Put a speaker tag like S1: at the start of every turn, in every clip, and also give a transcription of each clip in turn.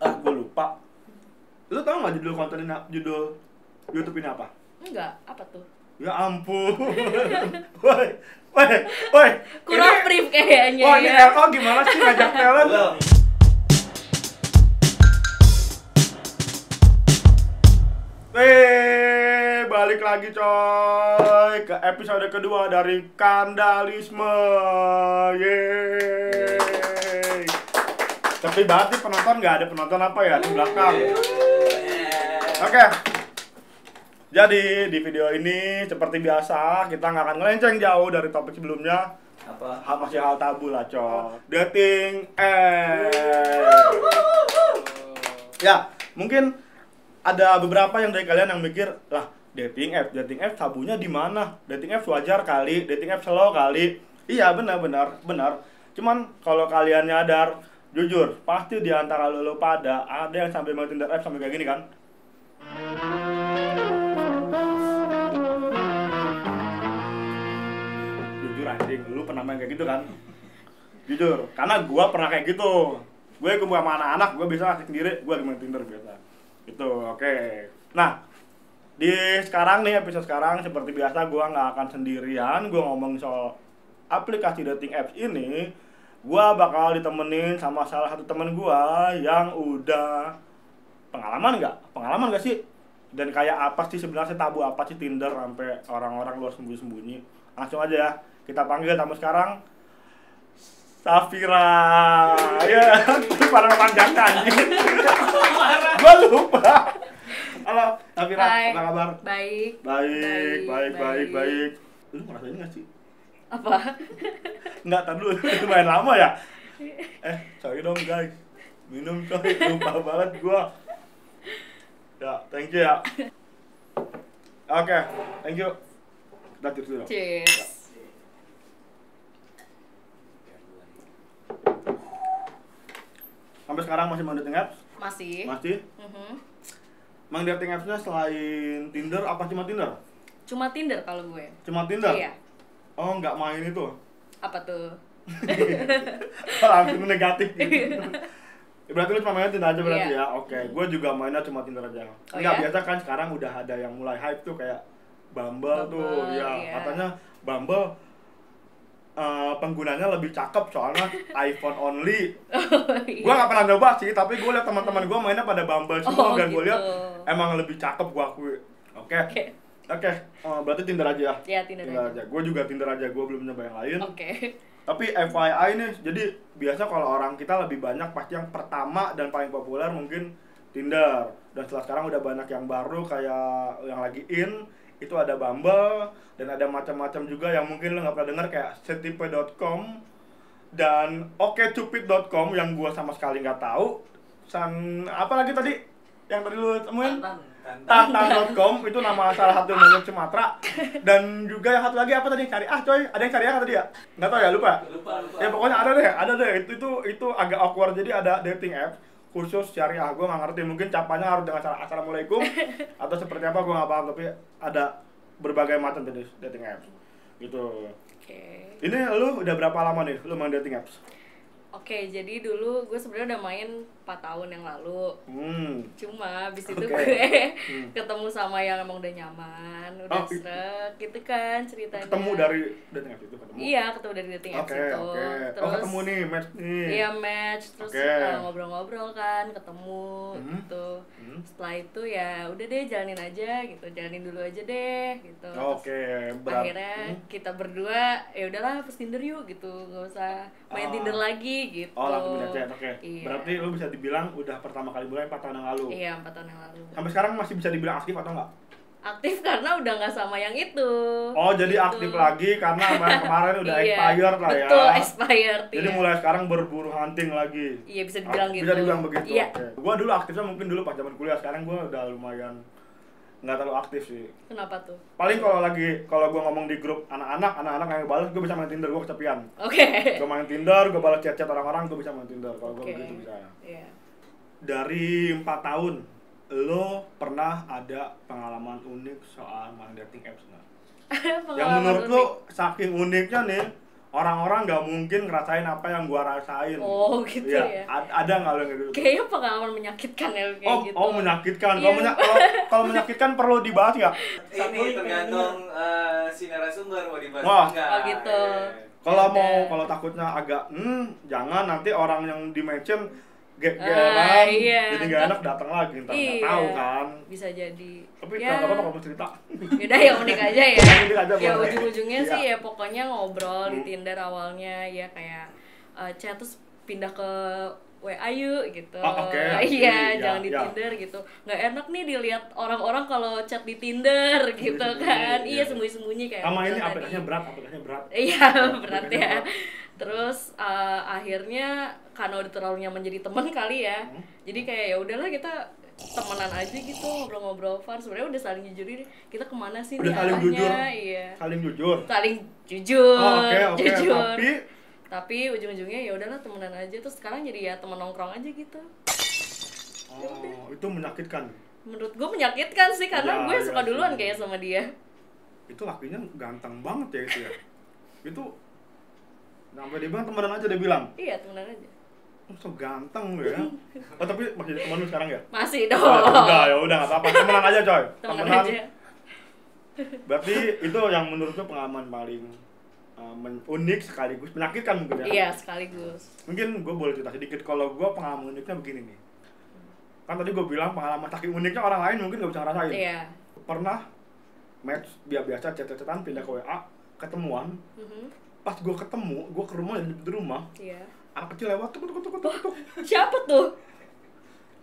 S1: Pak, Ah, lu tau nggak judul kontennya judul YouTube ini apa?
S2: Enggak, apa tuh?
S1: Ya ampun. woi, woi, woi.
S2: Kurang
S1: Ini-
S2: brief kayaknya
S1: Wah, ini
S2: ya.
S1: RO gimana sih ngajak talent?
S3: Lo.
S1: Weh, balik lagi coy ke episode kedua dari Kandalisme. Yeay. Tapi banget nih penonton nggak ada penonton apa ya di belakang. Oke. Jadi di video ini seperti biasa kita nggak akan ngelenceng jauh dari topik sebelumnya.
S3: Apa?
S1: Hal masih hal tabu lah coy. Dating eh. Ya, mungkin ada beberapa yang dari kalian yang mikir, lah dating app, dating app tabunya di mana? Dating app wajar kali, dating app slow kali. Iya benar benar benar. Cuman kalau kalian nyadar, jujur pasti di antara lulu pada ada yang sampai mau Tinder app sampai kayak gini kan? Jujur anjing, lu pernah main kayak gitu kan? Jujur, karena gua pernah kayak gitu. Gue ke sama anak-anak, gue bisa asik sendiri, gue lagi main Tinder biasa. Itu, oke. Nah, di sekarang nih episode sekarang seperti biasa gua nggak akan sendirian gua ngomong soal aplikasi dating apps ini gua bakal ditemenin sama salah satu temen gua yang udah pengalaman nggak pengalaman nggak sih dan kayak apa sih sebenarnya tabu apa sih Tinder sampai orang-orang luar sembunyi-sembunyi langsung aja ya kita panggil tamu sekarang Safira ya para panjangkan gua lupa halo Safira
S2: Hai.
S1: apa kabar
S2: Baik.
S1: Baik, baik, baik, baik. Lu ngerasain gak sih?
S2: Apa?
S1: Enggak, tadi lu lumayan lama ya? Eh, sorry dong guys. Minum coy, lupa banget gua. Ya, thank you ya. Oke, thank you. Kita cheers dulu.
S2: Cheers.
S1: Sampai sekarang masih main dating apps?
S2: Masih.
S1: Masih?
S2: Mhm.
S1: Main dating apps-nya selain Tinder apa cuma Tinder?
S2: Cuma Tinder kalau gue.
S1: Cuma Tinder?
S2: Iya.
S1: Oh, nggak main itu.
S2: Apa tuh?
S1: Langsung negatif gitu. Ya, berarti lu cuma mainnya Tinder aja berarti ya?
S2: Iya.
S1: Oke, gue juga mainnya cuma Tinder aja.
S2: Oh,
S1: Enggak,
S2: iya?
S1: biasa kan sekarang udah ada yang mulai hype tuh kayak Bumble, tuh.
S2: Bumble,
S1: Ya,
S2: iya.
S1: katanya Bumble eh, penggunanya lebih cakep soalnya iPhone only.
S2: Iya.
S1: Gue gak pernah nyoba sih, tapi gue liat teman-teman gue mainnya pada Bumble semua
S2: Oh,
S1: dan gue
S2: gitu.
S1: liat emang lebih cakep gue akui. Oke,
S2: Oke.
S1: oke, eh, berarti Tinder aja ya?
S2: Iya, Tinder aja.
S1: Gue juga Tinder aja, gue belum nyoba yang lain.
S2: Oke.
S1: Tapi FYI nih, jadi biasa kalau orang kita lebih banyak pasti yang pertama dan paling populer mungkin Tinder. Dan setelah sekarang udah banyak yang baru kayak yang lagi in, itu ada Bumble dan ada macam-macam juga yang mungkin lo nggak pernah dengar kayak setipe.com dan okecupid.com yang gua sama sekali nggak tahu. San apa lagi tadi yang tadi lu temuin? Tantan.com itu nama salah satu monyet Sumatera dan juga yang satu lagi apa tadi cari ah coy ada yang cari ah tadi ya nggak tahu ya lupa
S3: Lupa, lupa.
S1: ya pokoknya ada deh ada deh itu itu itu agak awkward jadi ada dating app khusus cari ah gue nggak ngerti mungkin capanya harus dengan cara assalamualaikum atau seperti apa gue nggak paham tapi ada berbagai macam jenis dating apps gitu
S2: Oke.
S1: ini lu udah berapa lama nih lu main dating apps
S2: Oke, jadi dulu gue sebenarnya udah main 4 tahun yang lalu.
S1: hmm
S2: cuma abis itu
S1: Oke.
S2: gue
S1: Hmm.
S2: ketemu sama yang emang udah nyaman
S1: Oh,
S2: udah
S1: i-
S2: seret gitu kan ceritanya
S1: ketemu dari dating apps itu ketemu
S2: iya ketemu dari dating apps
S1: oke
S2: itu
S1: oke oh
S2: terus
S1: ketemu nih match nih
S2: iya match terus
S1: Oke.
S2: eh, ngobrol-ngobrol kan ketemu
S1: Hmm.
S2: gitu
S1: Hmm.
S2: setelah itu ya udah deh jalanin aja gitu jalanin dulu aja deh gitu Terus
S1: Oh, Oke, berat.
S2: akhirnya gitu.
S1: Hmm.
S2: kita berdua ya udahlah hapus tinder yuk gitu nggak usah main
S1: Oh.
S2: tinder lagi gitu
S1: Oh, langsung pindah chat. Oke.
S2: Iya.
S1: Berarti lu bisa dibilang udah pertama kali mulai 4 tahun yang lalu.
S2: iya empat tahun yang lalu
S1: Sampai sekarang masih bisa dibilang aktif atau enggak?
S2: aktif karena udah nggak sama yang itu.
S1: Oh, jadi
S2: Gitu.
S1: aktif lagi karena kemarin, kemarin udah
S2: Iya,
S1: expired lah ya.
S2: Betul, expired.
S1: Jadi
S2: iya.
S1: mulai sekarang berburu hunting lagi.
S2: Iya, bisa dibilang
S1: Ah,
S2: gitu.
S1: Bisa dibilang begitu.
S2: Iya.
S1: Oke. Gua dulu aktifnya mungkin dulu pas zaman kuliah, sekarang gua udah lumayan nggak terlalu aktif sih.
S2: Kenapa tuh?
S1: Paling kalau lagi kalau gua ngomong di grup anak-anak, anak-anak yang balas gua bisa main Tinder, gua kesepian.
S2: Oke.
S1: Gua main Tinder, gua balas chat-chat orang-orang, gua bisa main Tinder. Kalau gua
S2: Oke.
S1: begitu bisa.
S2: Iya.
S1: dari empat tahun lo pernah ada pengalaman unik soal main dating apps nggak? Yang
S2: Pengalaman
S1: menurut lo
S2: unik.
S1: saking uniknya nih orang-orang nggak mungkin ngerasain apa yang gua rasain
S2: Oh, gitu
S1: Iya,
S2: ya.
S1: ad- ada nggak lo yang kayak gitu
S2: Kayaknya pengalaman menyakitkan ya kayak
S1: oh
S2: gitu.
S1: oh menyakitkan kalau
S2: Iya.
S1: menya- kalau kalau menyakitkan perlu dibahas nggak
S3: ini tergantung eh, si narasumber mau Iya, dibahas
S1: Wah.
S3: enggak.
S2: Oh, gitu.
S1: Iya, kalau
S2: Ada.
S1: mau kalau takutnya agak hmm jangan nanti orang yang di mention ge
S2: Ah,
S1: geran,
S2: iya.
S1: jadi nggak enak datang lagi ntar nggak
S2: Iya.
S1: tahu kan
S2: Bisa jadi. Ya.
S1: tapi nggak apa-apa kalau mau cerita
S2: Yaudah ya unik aja ya.
S1: Unik aja,
S2: ya
S1: boleh.
S2: ujung-ujungnya
S1: Iya.
S2: sih ya pokoknya ngobrol di
S1: Hmm.
S2: Tinder awalnya ya kayak eh, chat terus pindah ke WA yuk gitu.
S1: Oh, oke, I see. Ya,
S2: Iya, jangan di
S1: ya.
S2: Tinder gitu. Nggak enak nih dilihat orang-orang kalau chat di Tinder gitu
S1: Sembunyi-sembunyi,
S2: kan.
S1: iya.
S2: Iya, sembunyi-sembunyi kayak.
S1: sama ini
S2: tadi.
S1: aplikasinya berat aplikasinya berat
S2: Iya, berat
S1: Aplikasinya
S2: ya.
S1: berat.
S2: Terus eh, akhirnya karena udah terlalu nyaman jadi teman kali ya.
S1: Hmm.
S2: Jadi kayak ya udahlah kita temenan aja gitu ngobrol-ngobrol fun sebenarnya udah saling jujur ini kita kemana sih
S1: Udah
S2: nih
S1: saling
S2: arahnya,
S1: jujur.
S2: iya
S1: saling jujur
S2: saling jujur
S1: oh, oke oke
S2: jujur
S1: tapi
S2: Tapi ujung-ujungnya ya udahlah temenan aja terus sekarang jadi ya temen nongkrong aja gitu
S1: oh, itu menyakitkan
S2: menurut gue menyakitkan sih karena
S1: Ya,
S2: gue
S1: ya
S2: suka
S1: sih.
S2: duluan kayaknya sama dia
S1: itu lakinya ganteng banget ya itu ya itu sampai dia bilang temenan aja dia bilang
S2: iya temenan aja
S1: oh, so ganteng lu ya oh tapi masih jadi teman lu sekarang ya
S2: masih dong
S1: Oh, udah ya udah nggak apa-apa temenan Iya. aja coy
S2: temenan aja
S1: berarti itu yang menurut lu pengalaman paling uh, men- unik sekaligus menyakitkan mungkin ya
S2: iya sekaligus
S1: mungkin gue boleh cerita sedikit kalau gue pengalaman uniknya begini nih kan tadi gue bilang pengalaman saking uniknya orang lain mungkin gak bisa ngerasain
S2: iya
S1: pernah match dia biasa chat-chatan pindah ke WA ketemuan
S2: Mhm.
S1: pas gue ketemu gue ke rumah dan di rumah
S2: iya
S1: anak kecil lewat tuk tuk tuk tuk tuk
S2: siapa tuh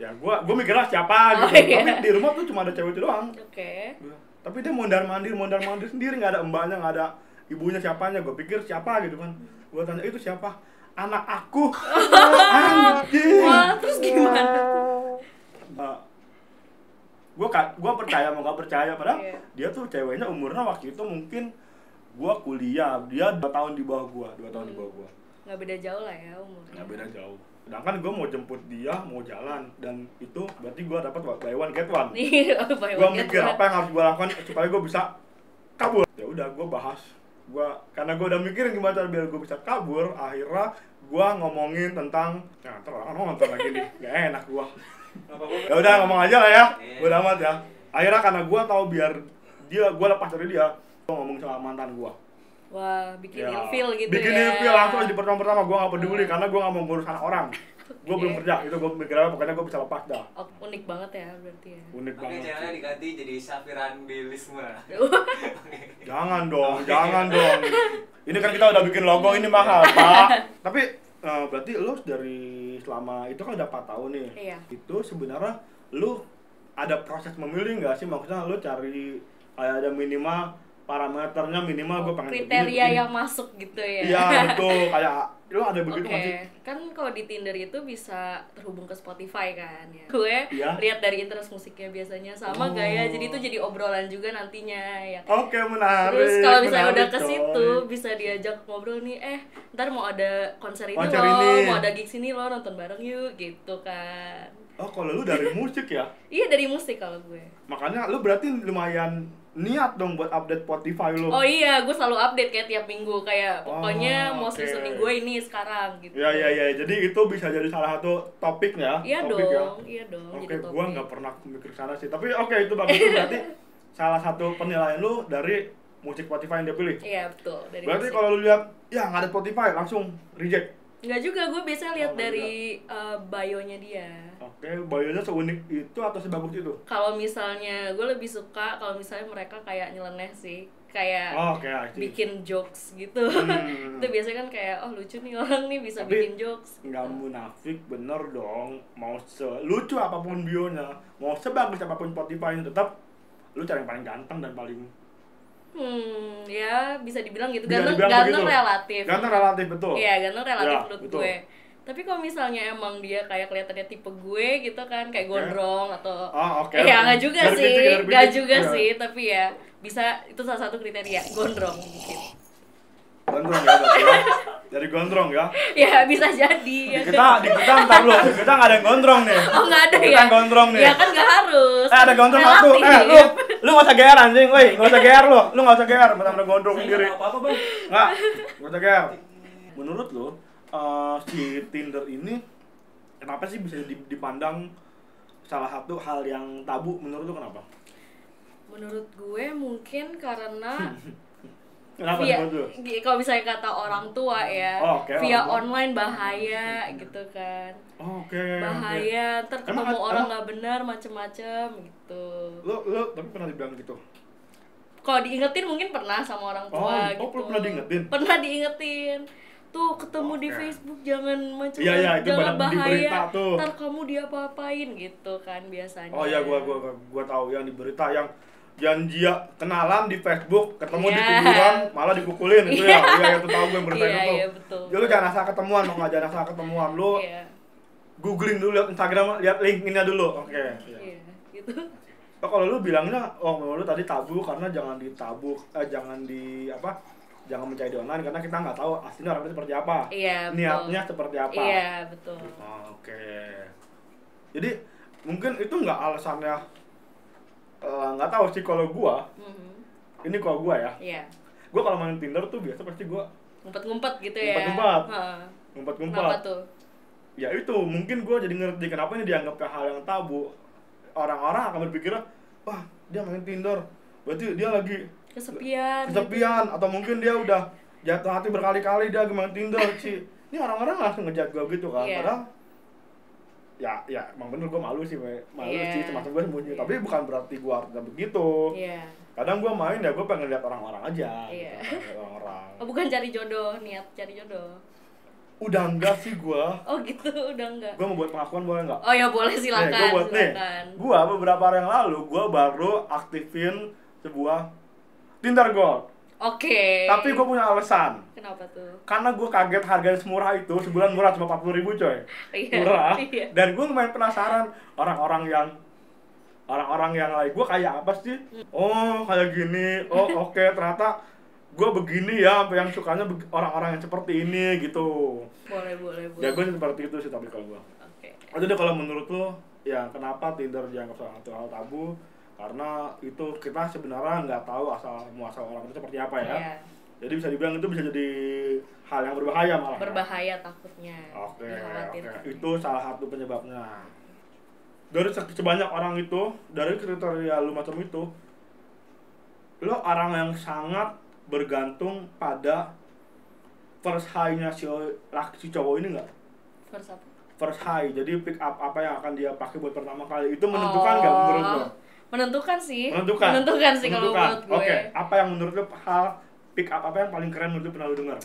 S1: ya gue gue mikirnya siapa
S2: Oh,
S1: gitu
S2: iya.
S1: tapi di rumah tuh cuma ada cewek itu doang
S2: oke
S1: Gua- tapi dia mondar mandir mondar mandir sendiri nggak ada mbaknya nggak ada ibunya siapanya gue pikir siapa gitu kan gue tanya itu siapa anak aku anjing
S2: Wah, terus gimana?
S1: gue gue percaya mau nggak percaya padahal
S2: Iya.
S1: dia tuh ceweknya umurnya waktu itu mungkin gue kuliah dia dua tahun di bawah gue dua tahun di bawah gue
S2: nggak beda jauh lah ya umurnya
S1: nggak beda jauh sedangkan gue mau jemput dia mau jalan dan itu berarti gue dapat buy one get one
S2: nih oh, apa
S1: gue mikir apa yang harus gue lakukan supaya gue bisa kabur ya udah gue bahas gua karena gue udah mikirin gimana cara biar gue bisa kabur akhirnya gue ngomongin tentang nah ntar orang nonton lagi nih gak enak gue
S3: Apa gua-
S1: ya udah ngomong aja lah ya
S2: Iya.
S1: gue amat ya akhirnya karena gue tahu biar dia gue lepas dari dia gue ngomong sama mantan gue
S2: wah bikin
S1: Ya,
S2: ilfil gitu
S1: bikin
S2: ya Iya.
S1: ilfil langsung di pertemuan pertama gue gak peduli karena gue gak mau ngurus anak orang gue belum
S2: Oke.
S1: kerja itu gue mikirnya pokoknya gue bisa lepas dah
S2: Oh, unik banget ya berarti ya
S1: unik
S3: Oke,
S1: banget
S3: channelnya diganti jadi Safiran Bilisme.
S1: Jangan dong, jangan dong. Ini kan kita udah bikin logo ini mahal, Pak. Tapi eh, berarti lu dari selama itu kan udah 4 tahun nih.
S2: Iya.
S1: Itu sebenarnya lu ada proses memilih nggak sih? Maksudnya lu cari kayak ada minimal parameternya minimal gue Ah, pengen begini,
S2: kriteria
S1: begini.
S2: yang masuk gitu ya
S1: Iya, betul. Kayak lu ada begitu
S2: Oke,
S1: nggak sih?
S2: kan kalau di Tinder itu bisa terhubung ke Spotify kan ya. Gue
S1: Iya.
S2: lihat dari interest musiknya biasanya sama
S1: Oh.
S2: gaya, jadi itu jadi obrolan juga nantinya ya. kan.
S1: Oke, menarik.
S2: Terus kalau misalnya
S1: menarik,
S2: udah ke
S1: coy.
S2: situ bisa diajak ngobrol nih, eh ntar mau ada konser ini
S1: Konser
S2: loh,
S1: ini.
S2: mau ada gigs ini loh, nonton bareng yuk gitu kan.
S1: Oh, kalau lu dari musik ya?
S2: Iya dari musik kalau gue.
S1: Makanya lu berarti lumayan niat dong buat update Spotify lu.
S2: Oh iya, gue selalu update kayak tiap minggu kayak pokoknya
S1: Oh,
S2: most
S1: oke.
S2: listening gue ini sekarang gitu.
S1: Ya ya ya, jadi itu bisa jadi salah satu topiknya.
S2: Iya
S1: topik ya.
S2: dong, iya dong.
S1: Oke,
S2: jadi
S1: gua
S2: topik.
S1: nggak pernah mikir ke sana sih. Tapi oke itu bagus Itu berarti salah satu penilaian lu dari musik Spotify yang dia pilih.
S2: Iya betul dari
S1: Berarti
S2: musik.
S1: kalau lu lihat ya nggak ada Spotify langsung reject.
S2: Enggak juga, gue biasanya lihat
S1: Oh,
S2: dari eh, bio-nya dia.
S1: Oke, bayonya seunik itu atau sebagus itu?
S2: Kalau misalnya gue lebih suka kalau misalnya mereka kayak nyeleneh sih, kayak
S1: Oh, oke, I see.
S2: Iya. bikin jokes gitu.
S1: Hmm.
S2: Itu biasanya kan kayak oh lucu nih orang nih
S1: Tapi,
S2: bisa bikin jokes.
S1: nggak munafik bener dong mau selucu apapun bionya mau sebagus apapun Spotify tetap lu cari yang paling ganteng dan paling
S2: Hmm, ya bisa dibilang gitu.
S1: Bisa
S2: Ganteng,
S1: dibilang
S2: ganteng
S1: begitu.
S2: relatif.
S1: ganteng relatif betul
S2: Iya, ganteng relatif
S1: Ya,
S2: menurut
S1: betul.
S2: gue. Tapi kalau misalnya emang dia kayak kelihatannya tipe gue gitu kan, kayak gondrong atau
S1: Oh, oke.
S2: Ya nggak juga
S1: Dari
S2: sih,
S1: pitik, dari
S2: nggak
S1: pitik.
S2: juga
S1: Iya.
S2: sih, tapi ya bisa itu salah satu kriteria gondrong mungkin.
S1: Gondrong ya berarti ya. Dari gondrong ya.
S2: Ya bisa jadi.
S1: Di
S2: ya.
S1: kita, di kita ntar lu, di kita nggak ada yang gondrong nih.
S2: Oh nggak ada
S1: Kita
S2: ya?
S1: gondrong nih.
S2: Ya kan nggak harus.
S1: Eh ada gondrong satu, eh
S2: Relatif.
S1: lu, Lu gak usah GR anjing, woi, gak usah GR lu. Lu gak usah GR, mentang-mentang gondrong
S3: Saya
S1: sendiri.
S3: nggak apa-apa bang
S1: Nggak, gak usah GR. Menurut lu, eh, si Tinder ini kenapa sih bisa di- dipandang salah satu hal yang tabu menurut lu kenapa?
S2: Menurut gue mungkin
S1: Hmm.
S2: karena
S1: Kenapa
S2: via
S1: menurut lu?
S2: gi- kalau misalnya kata orang tua ya,
S1: Oh, oke,
S2: via
S1: orang tua.
S2: online bahaya gitu kan.
S1: Oke. oke.
S2: Bahaya, ntar
S1: Emang-
S2: ketemu orang
S1: emang-
S2: nggak benar macem-macem gitu.
S1: Lu lu tapi pernah dibilang gitu?
S2: Kalau diingetin mungkin pernah sama orang
S1: Oh, oh,
S2: tua gitu.
S1: pernah diingetin?
S2: Pernah diingetin. Tuh ketemu di
S1: Oke.
S2: Facebook jangan macem
S1: Iya, iya, itu
S2: jangan
S1: banyak di
S2: bahaya.
S1: berita tuh.
S2: Ntar kamu diapa-apain gitu kan biasanya.
S1: Oh iya gua gua gua- gua tahu yang di berita yang janjia kenalan di Facebook, ketemu di
S2: Iya.
S1: kuburan, malah dipukulin itu ya. Iya, itu tahu gue yang berita
S2: Iya,
S1: itu.
S2: iya, betul.
S1: Jadi lu jangan asal ketemuan, lu nggak jangan asal ketemuan lu.
S2: Iya.
S1: Googling dulu lihat Instagram, lihat LinkedIn-nya dulu. Oke. iya.
S2: Iya, gitu.
S1: Oh, kalau lu bilangnya oh menurut lu tadi tabu karena jangan ditabuk, eh, jangan di apa? Jangan mencari di online karena kita nggak tahu aslinya orangnya seperti apa.
S2: Iya, betul.
S1: Niatnya seperti apa.
S2: Iya, betul.
S1: Oh, Oke. Jadi mungkin itu nggak alasannya eh, nggak tahu sih kalau gua
S2: Mhm.
S1: ini kalau gua ya
S2: Iya.
S1: gua kalau main Tinder tuh biasa pasti gua
S2: Ngumpet-ngumpet gitu ya.
S1: Ngumpet-ngumpet.
S2: Heeh. Kenapa
S1: ngumpet-ngumpet
S2: tuh?
S1: ya itu mungkin gua jadi ngerti kenapa ini dianggap ke hal yang tabu orang-orang akan berpikir wah dia main Tinder berarti dia lagi
S2: Kesepian.
S1: kesepian atau mungkin dia udah jatuh hati berkali-kali dia main Tinder sih ini orang-orang langsung ngejat gua gitu kan
S2: Iya.
S1: padahal ya ya emang bener gua malu sih May. malu
S2: Iya.
S1: sih semacam gua sembunyi
S2: Iya.
S1: tapi bukan berarti gua harusnya begitu
S2: Iya.
S1: kadang gua main ya gua pengen lihat orang-orang aja
S2: Iya.
S1: gitu, pengen lihat orang-orang
S2: Oh, bukan cari jodoh, niat cari jodoh.
S1: udah enggak sih gua
S2: Oh, gitu udah enggak.
S1: gua mau buat pengakuan boleh nggak
S2: Oh ya boleh
S1: Nih,
S2: silakan.
S1: Eh, gua buat nih
S2: silakan.
S1: gua beberapa hari yang lalu gua baru aktifin sebuah Tinder Gold
S2: Oke.
S1: tapi gua punya alasan
S2: kenapa tuh?
S1: karena gue kaget harganya semurah itu sebulan murah cuma 40.000 ribu coy
S2: Iya.
S1: murah
S2: Iya.
S1: dan gue lumayan penasaran orang-orang yang orang-orang yang lain gue kayak apa sih oh kayak gini oh oke ternyata gue begini ya sampai yang sukanya beg- orang-orang yang seperti ini gitu
S2: Boleh, boleh, boleh.
S1: ya gue seperti itu sih tapi kalau gue
S2: Oke.
S1: Oh, jadi kalau menurut lo, ya kenapa Tinder dianggap salah satu hal tabu? Karena itu kita sebenarnya nggak tahu asal muasal orang itu seperti apa ya.
S2: Iya.
S1: Jadi bisa dibilang itu bisa jadi hal yang berbahaya malah. ya.
S2: Berbahaya takutnya.
S1: Oke, oke.
S2: Dikhawatirkan.
S1: Itu salah satu penyebabnya. Dari se- sebanyak orang itu, dari kriteria lu macam itu, lo orang yang sangat bergantung pada first high-nya si, laki- si cowok ini nggak?
S2: First apa?
S1: First high, jadi pick up apa yang akan dia pakai buat pertama kali itu menentukan nggak
S2: Oh.
S1: menurut lo?
S2: Menentukan sih.
S1: Menentukan.
S2: Menentukan sih kalau
S1: Menentukan.
S2: menurut gue.
S1: Oke, apa yang menurut lo hal pick up apa yang paling keren menurut lo pernah lo dengar?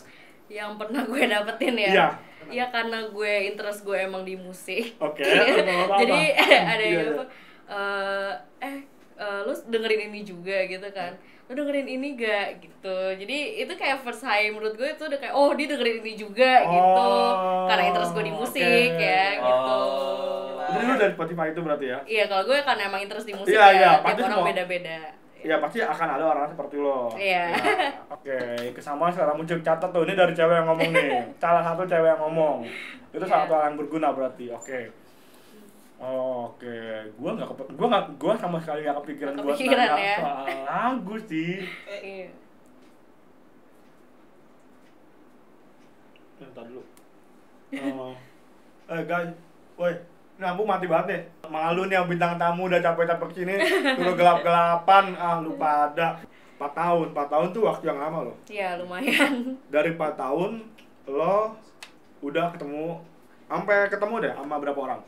S2: Yang pernah gue dapetin ya.
S1: Iya.
S2: Ya, karena gue interest gue emang di musik.
S1: Oke. Iya, apa-apa.
S2: Iya, Jadi ada
S1: Iya,
S2: yang
S1: iya.
S2: apa? eh, eh eh, lu dengerin ini juga gitu kan. Lu dengerin ini gak gitu. Jadi itu kayak first high menurut gue itu udah kayak oh dia dengerin ini juga gitu.
S1: Oh,
S2: Karena interest gue di
S1: oke.
S2: musik ya gitu.
S3: Oh.
S1: Jadi lu dari Spotify itu berarti ya?
S2: Iya kalau gue karena emang interest di musik
S1: Iya,
S2: ya.
S1: iya,
S2: tiap
S1: pasti
S2: orang
S1: semua-
S2: beda-beda.
S1: Ya pasti akan ada orang seperti lo.
S2: Iya.
S1: Ya, Oke, kesamaan secara muncul catat tuh ini dari cewek yang ngomong nih. Salah satu cewek yang ngomong. Itu salah
S2: Iya.
S1: satu hal yang berguna berarti. Oke. Oh, Oke, gua nggak kepet, gua nggak, gua sama sekali nggak kepikiran
S2: Nggak
S1: buat
S2: kepikiran,
S1: nanya
S2: ya.
S1: soal lagu sih.
S2: Iya.
S1: Ya, ntar dulu. Oh. eh guys, woi, ini lampu mati banget nih. Malu nih yang bintang tamu udah capek-capek kesini, suruh gelap-gelapan, ah lupa ada. 4 tahun, 4 tahun tuh waktu yang lama loh.
S2: Iya lumayan.
S1: Dari 4 tahun lo udah ketemu sampai ketemu deh sama berapa orang?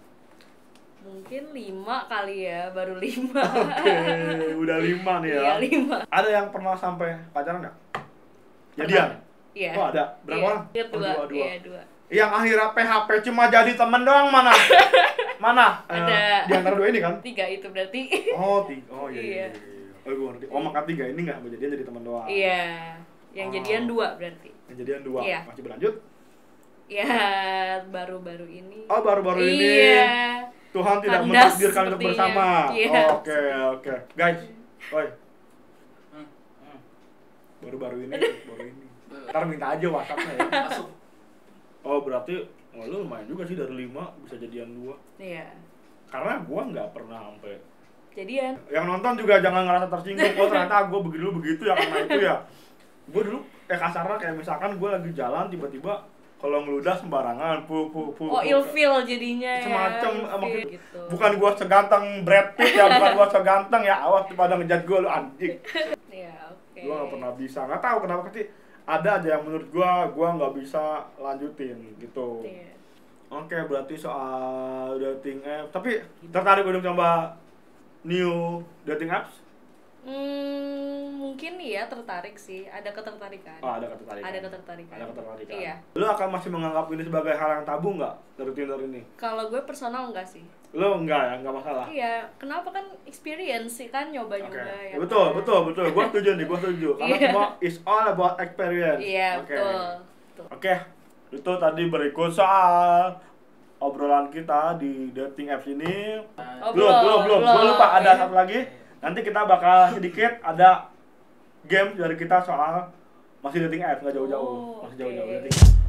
S2: Mungkin lima kali ya, baru lima.
S1: Oke, udah 5 nih ya.
S2: Iya lima.
S1: Ada yang pernah sampai pacaran nggak? Jadian?
S2: Iya.
S1: Oh ada, berapa
S2: Iya,
S1: orang?
S2: Iya,
S1: Oh,
S2: dua.
S1: dua, dua.
S2: Iya, dua.
S1: Yang akhirnya PHP cuma jadi temen doang mana? mana? Eh,
S2: Ada.
S1: di antara dua ini kan?
S2: Tiga itu berarti.
S1: Oh, tiga. Oh iya. iya.
S2: Iya.
S1: iya. Oh, gue ngerti. Oh, maka tiga ini nggak kejadian jadi teman doang.
S2: Iya. Yang
S1: Oh.
S2: jadian dua berarti.
S1: Kejadian dua.
S2: Iya.
S1: Masih berlanjut?
S2: Ya, baru-baru ini.
S1: Oh, baru-baru ini.
S2: Iya.
S1: Tuhan tidak
S2: Kandas
S1: mentakdirkan untuk
S2: sepertinya.
S1: bersama.
S2: Iya.
S1: Oke, oke. Guys, woi,
S3: Hmm, hmm.
S1: baru-baru ini, baru ini. Ntar minta aja WhatsApp-nya ya.
S3: masuk
S1: Oh, berarti oh, lu lumayan juga sih dari lima bisa jadian dua.
S2: Iya.
S1: Karena gua nggak pernah sampai
S2: jadian
S1: yang nonton juga jangan ngerasa tersinggung oh ternyata gue begitu dulu begitu ya karena itu ya gue dulu kayak kasarnya kayak misalkan gue lagi jalan tiba-tiba kalau ngeludah sembarangan pu pu pu
S2: oh
S1: pu.
S2: ilfeel jadinya ya
S1: semacam
S2: ill
S1: eh, maksud-
S2: feel gitu
S1: bukan gue seganteng Brad Pitt ya bukan gue seganteng ya awas tuh pada ngejat gue lu anjing
S2: ya oke
S1: gue gak pernah bisa nggak tahu kenapa sih ada aja yang menurut gue gue nggak bisa lanjutin gitu
S2: Iya.
S1: Oke, berarti soal dating app. Tapi tertarik untuk coba new dating apps?
S2: Hmm, mungkin iya tertarik sih, ada ketertarikan.
S1: Oh, ada ketertarikan.
S2: Ada ketertarikan.
S1: Ada ketertarikan.
S2: Iya.
S1: Lo akan masih menganggap ini sebagai hal yang tabu nggak dari Tinder ini?
S2: Kalau gue personal enggak sih?
S1: Lo nggak ya, nggak masalah.
S2: Iya, kenapa kan experience sih kan nyoba-nyoba ya.
S1: betul,
S2: kan?
S1: betul, betul. Gua setuju nih, gua setuju. Karena
S2: Iya.
S1: semua is all about experience.
S2: Iya,
S1: Oke.
S2: betul. Betul.
S1: Oke, itu tadi berikut soal obrolan kita di dating apps ini.
S2: Oh,
S1: belum, belum, belum,
S2: belum.
S1: Gua lupa ada
S2: Iya.
S1: satu lagi. Nanti kita bakal sedikit ada game dari kita soal masih dating apps nggak jauh-jauh,
S2: Oh,
S1: masih jauh-jauh
S2: oke.
S1: dating apps.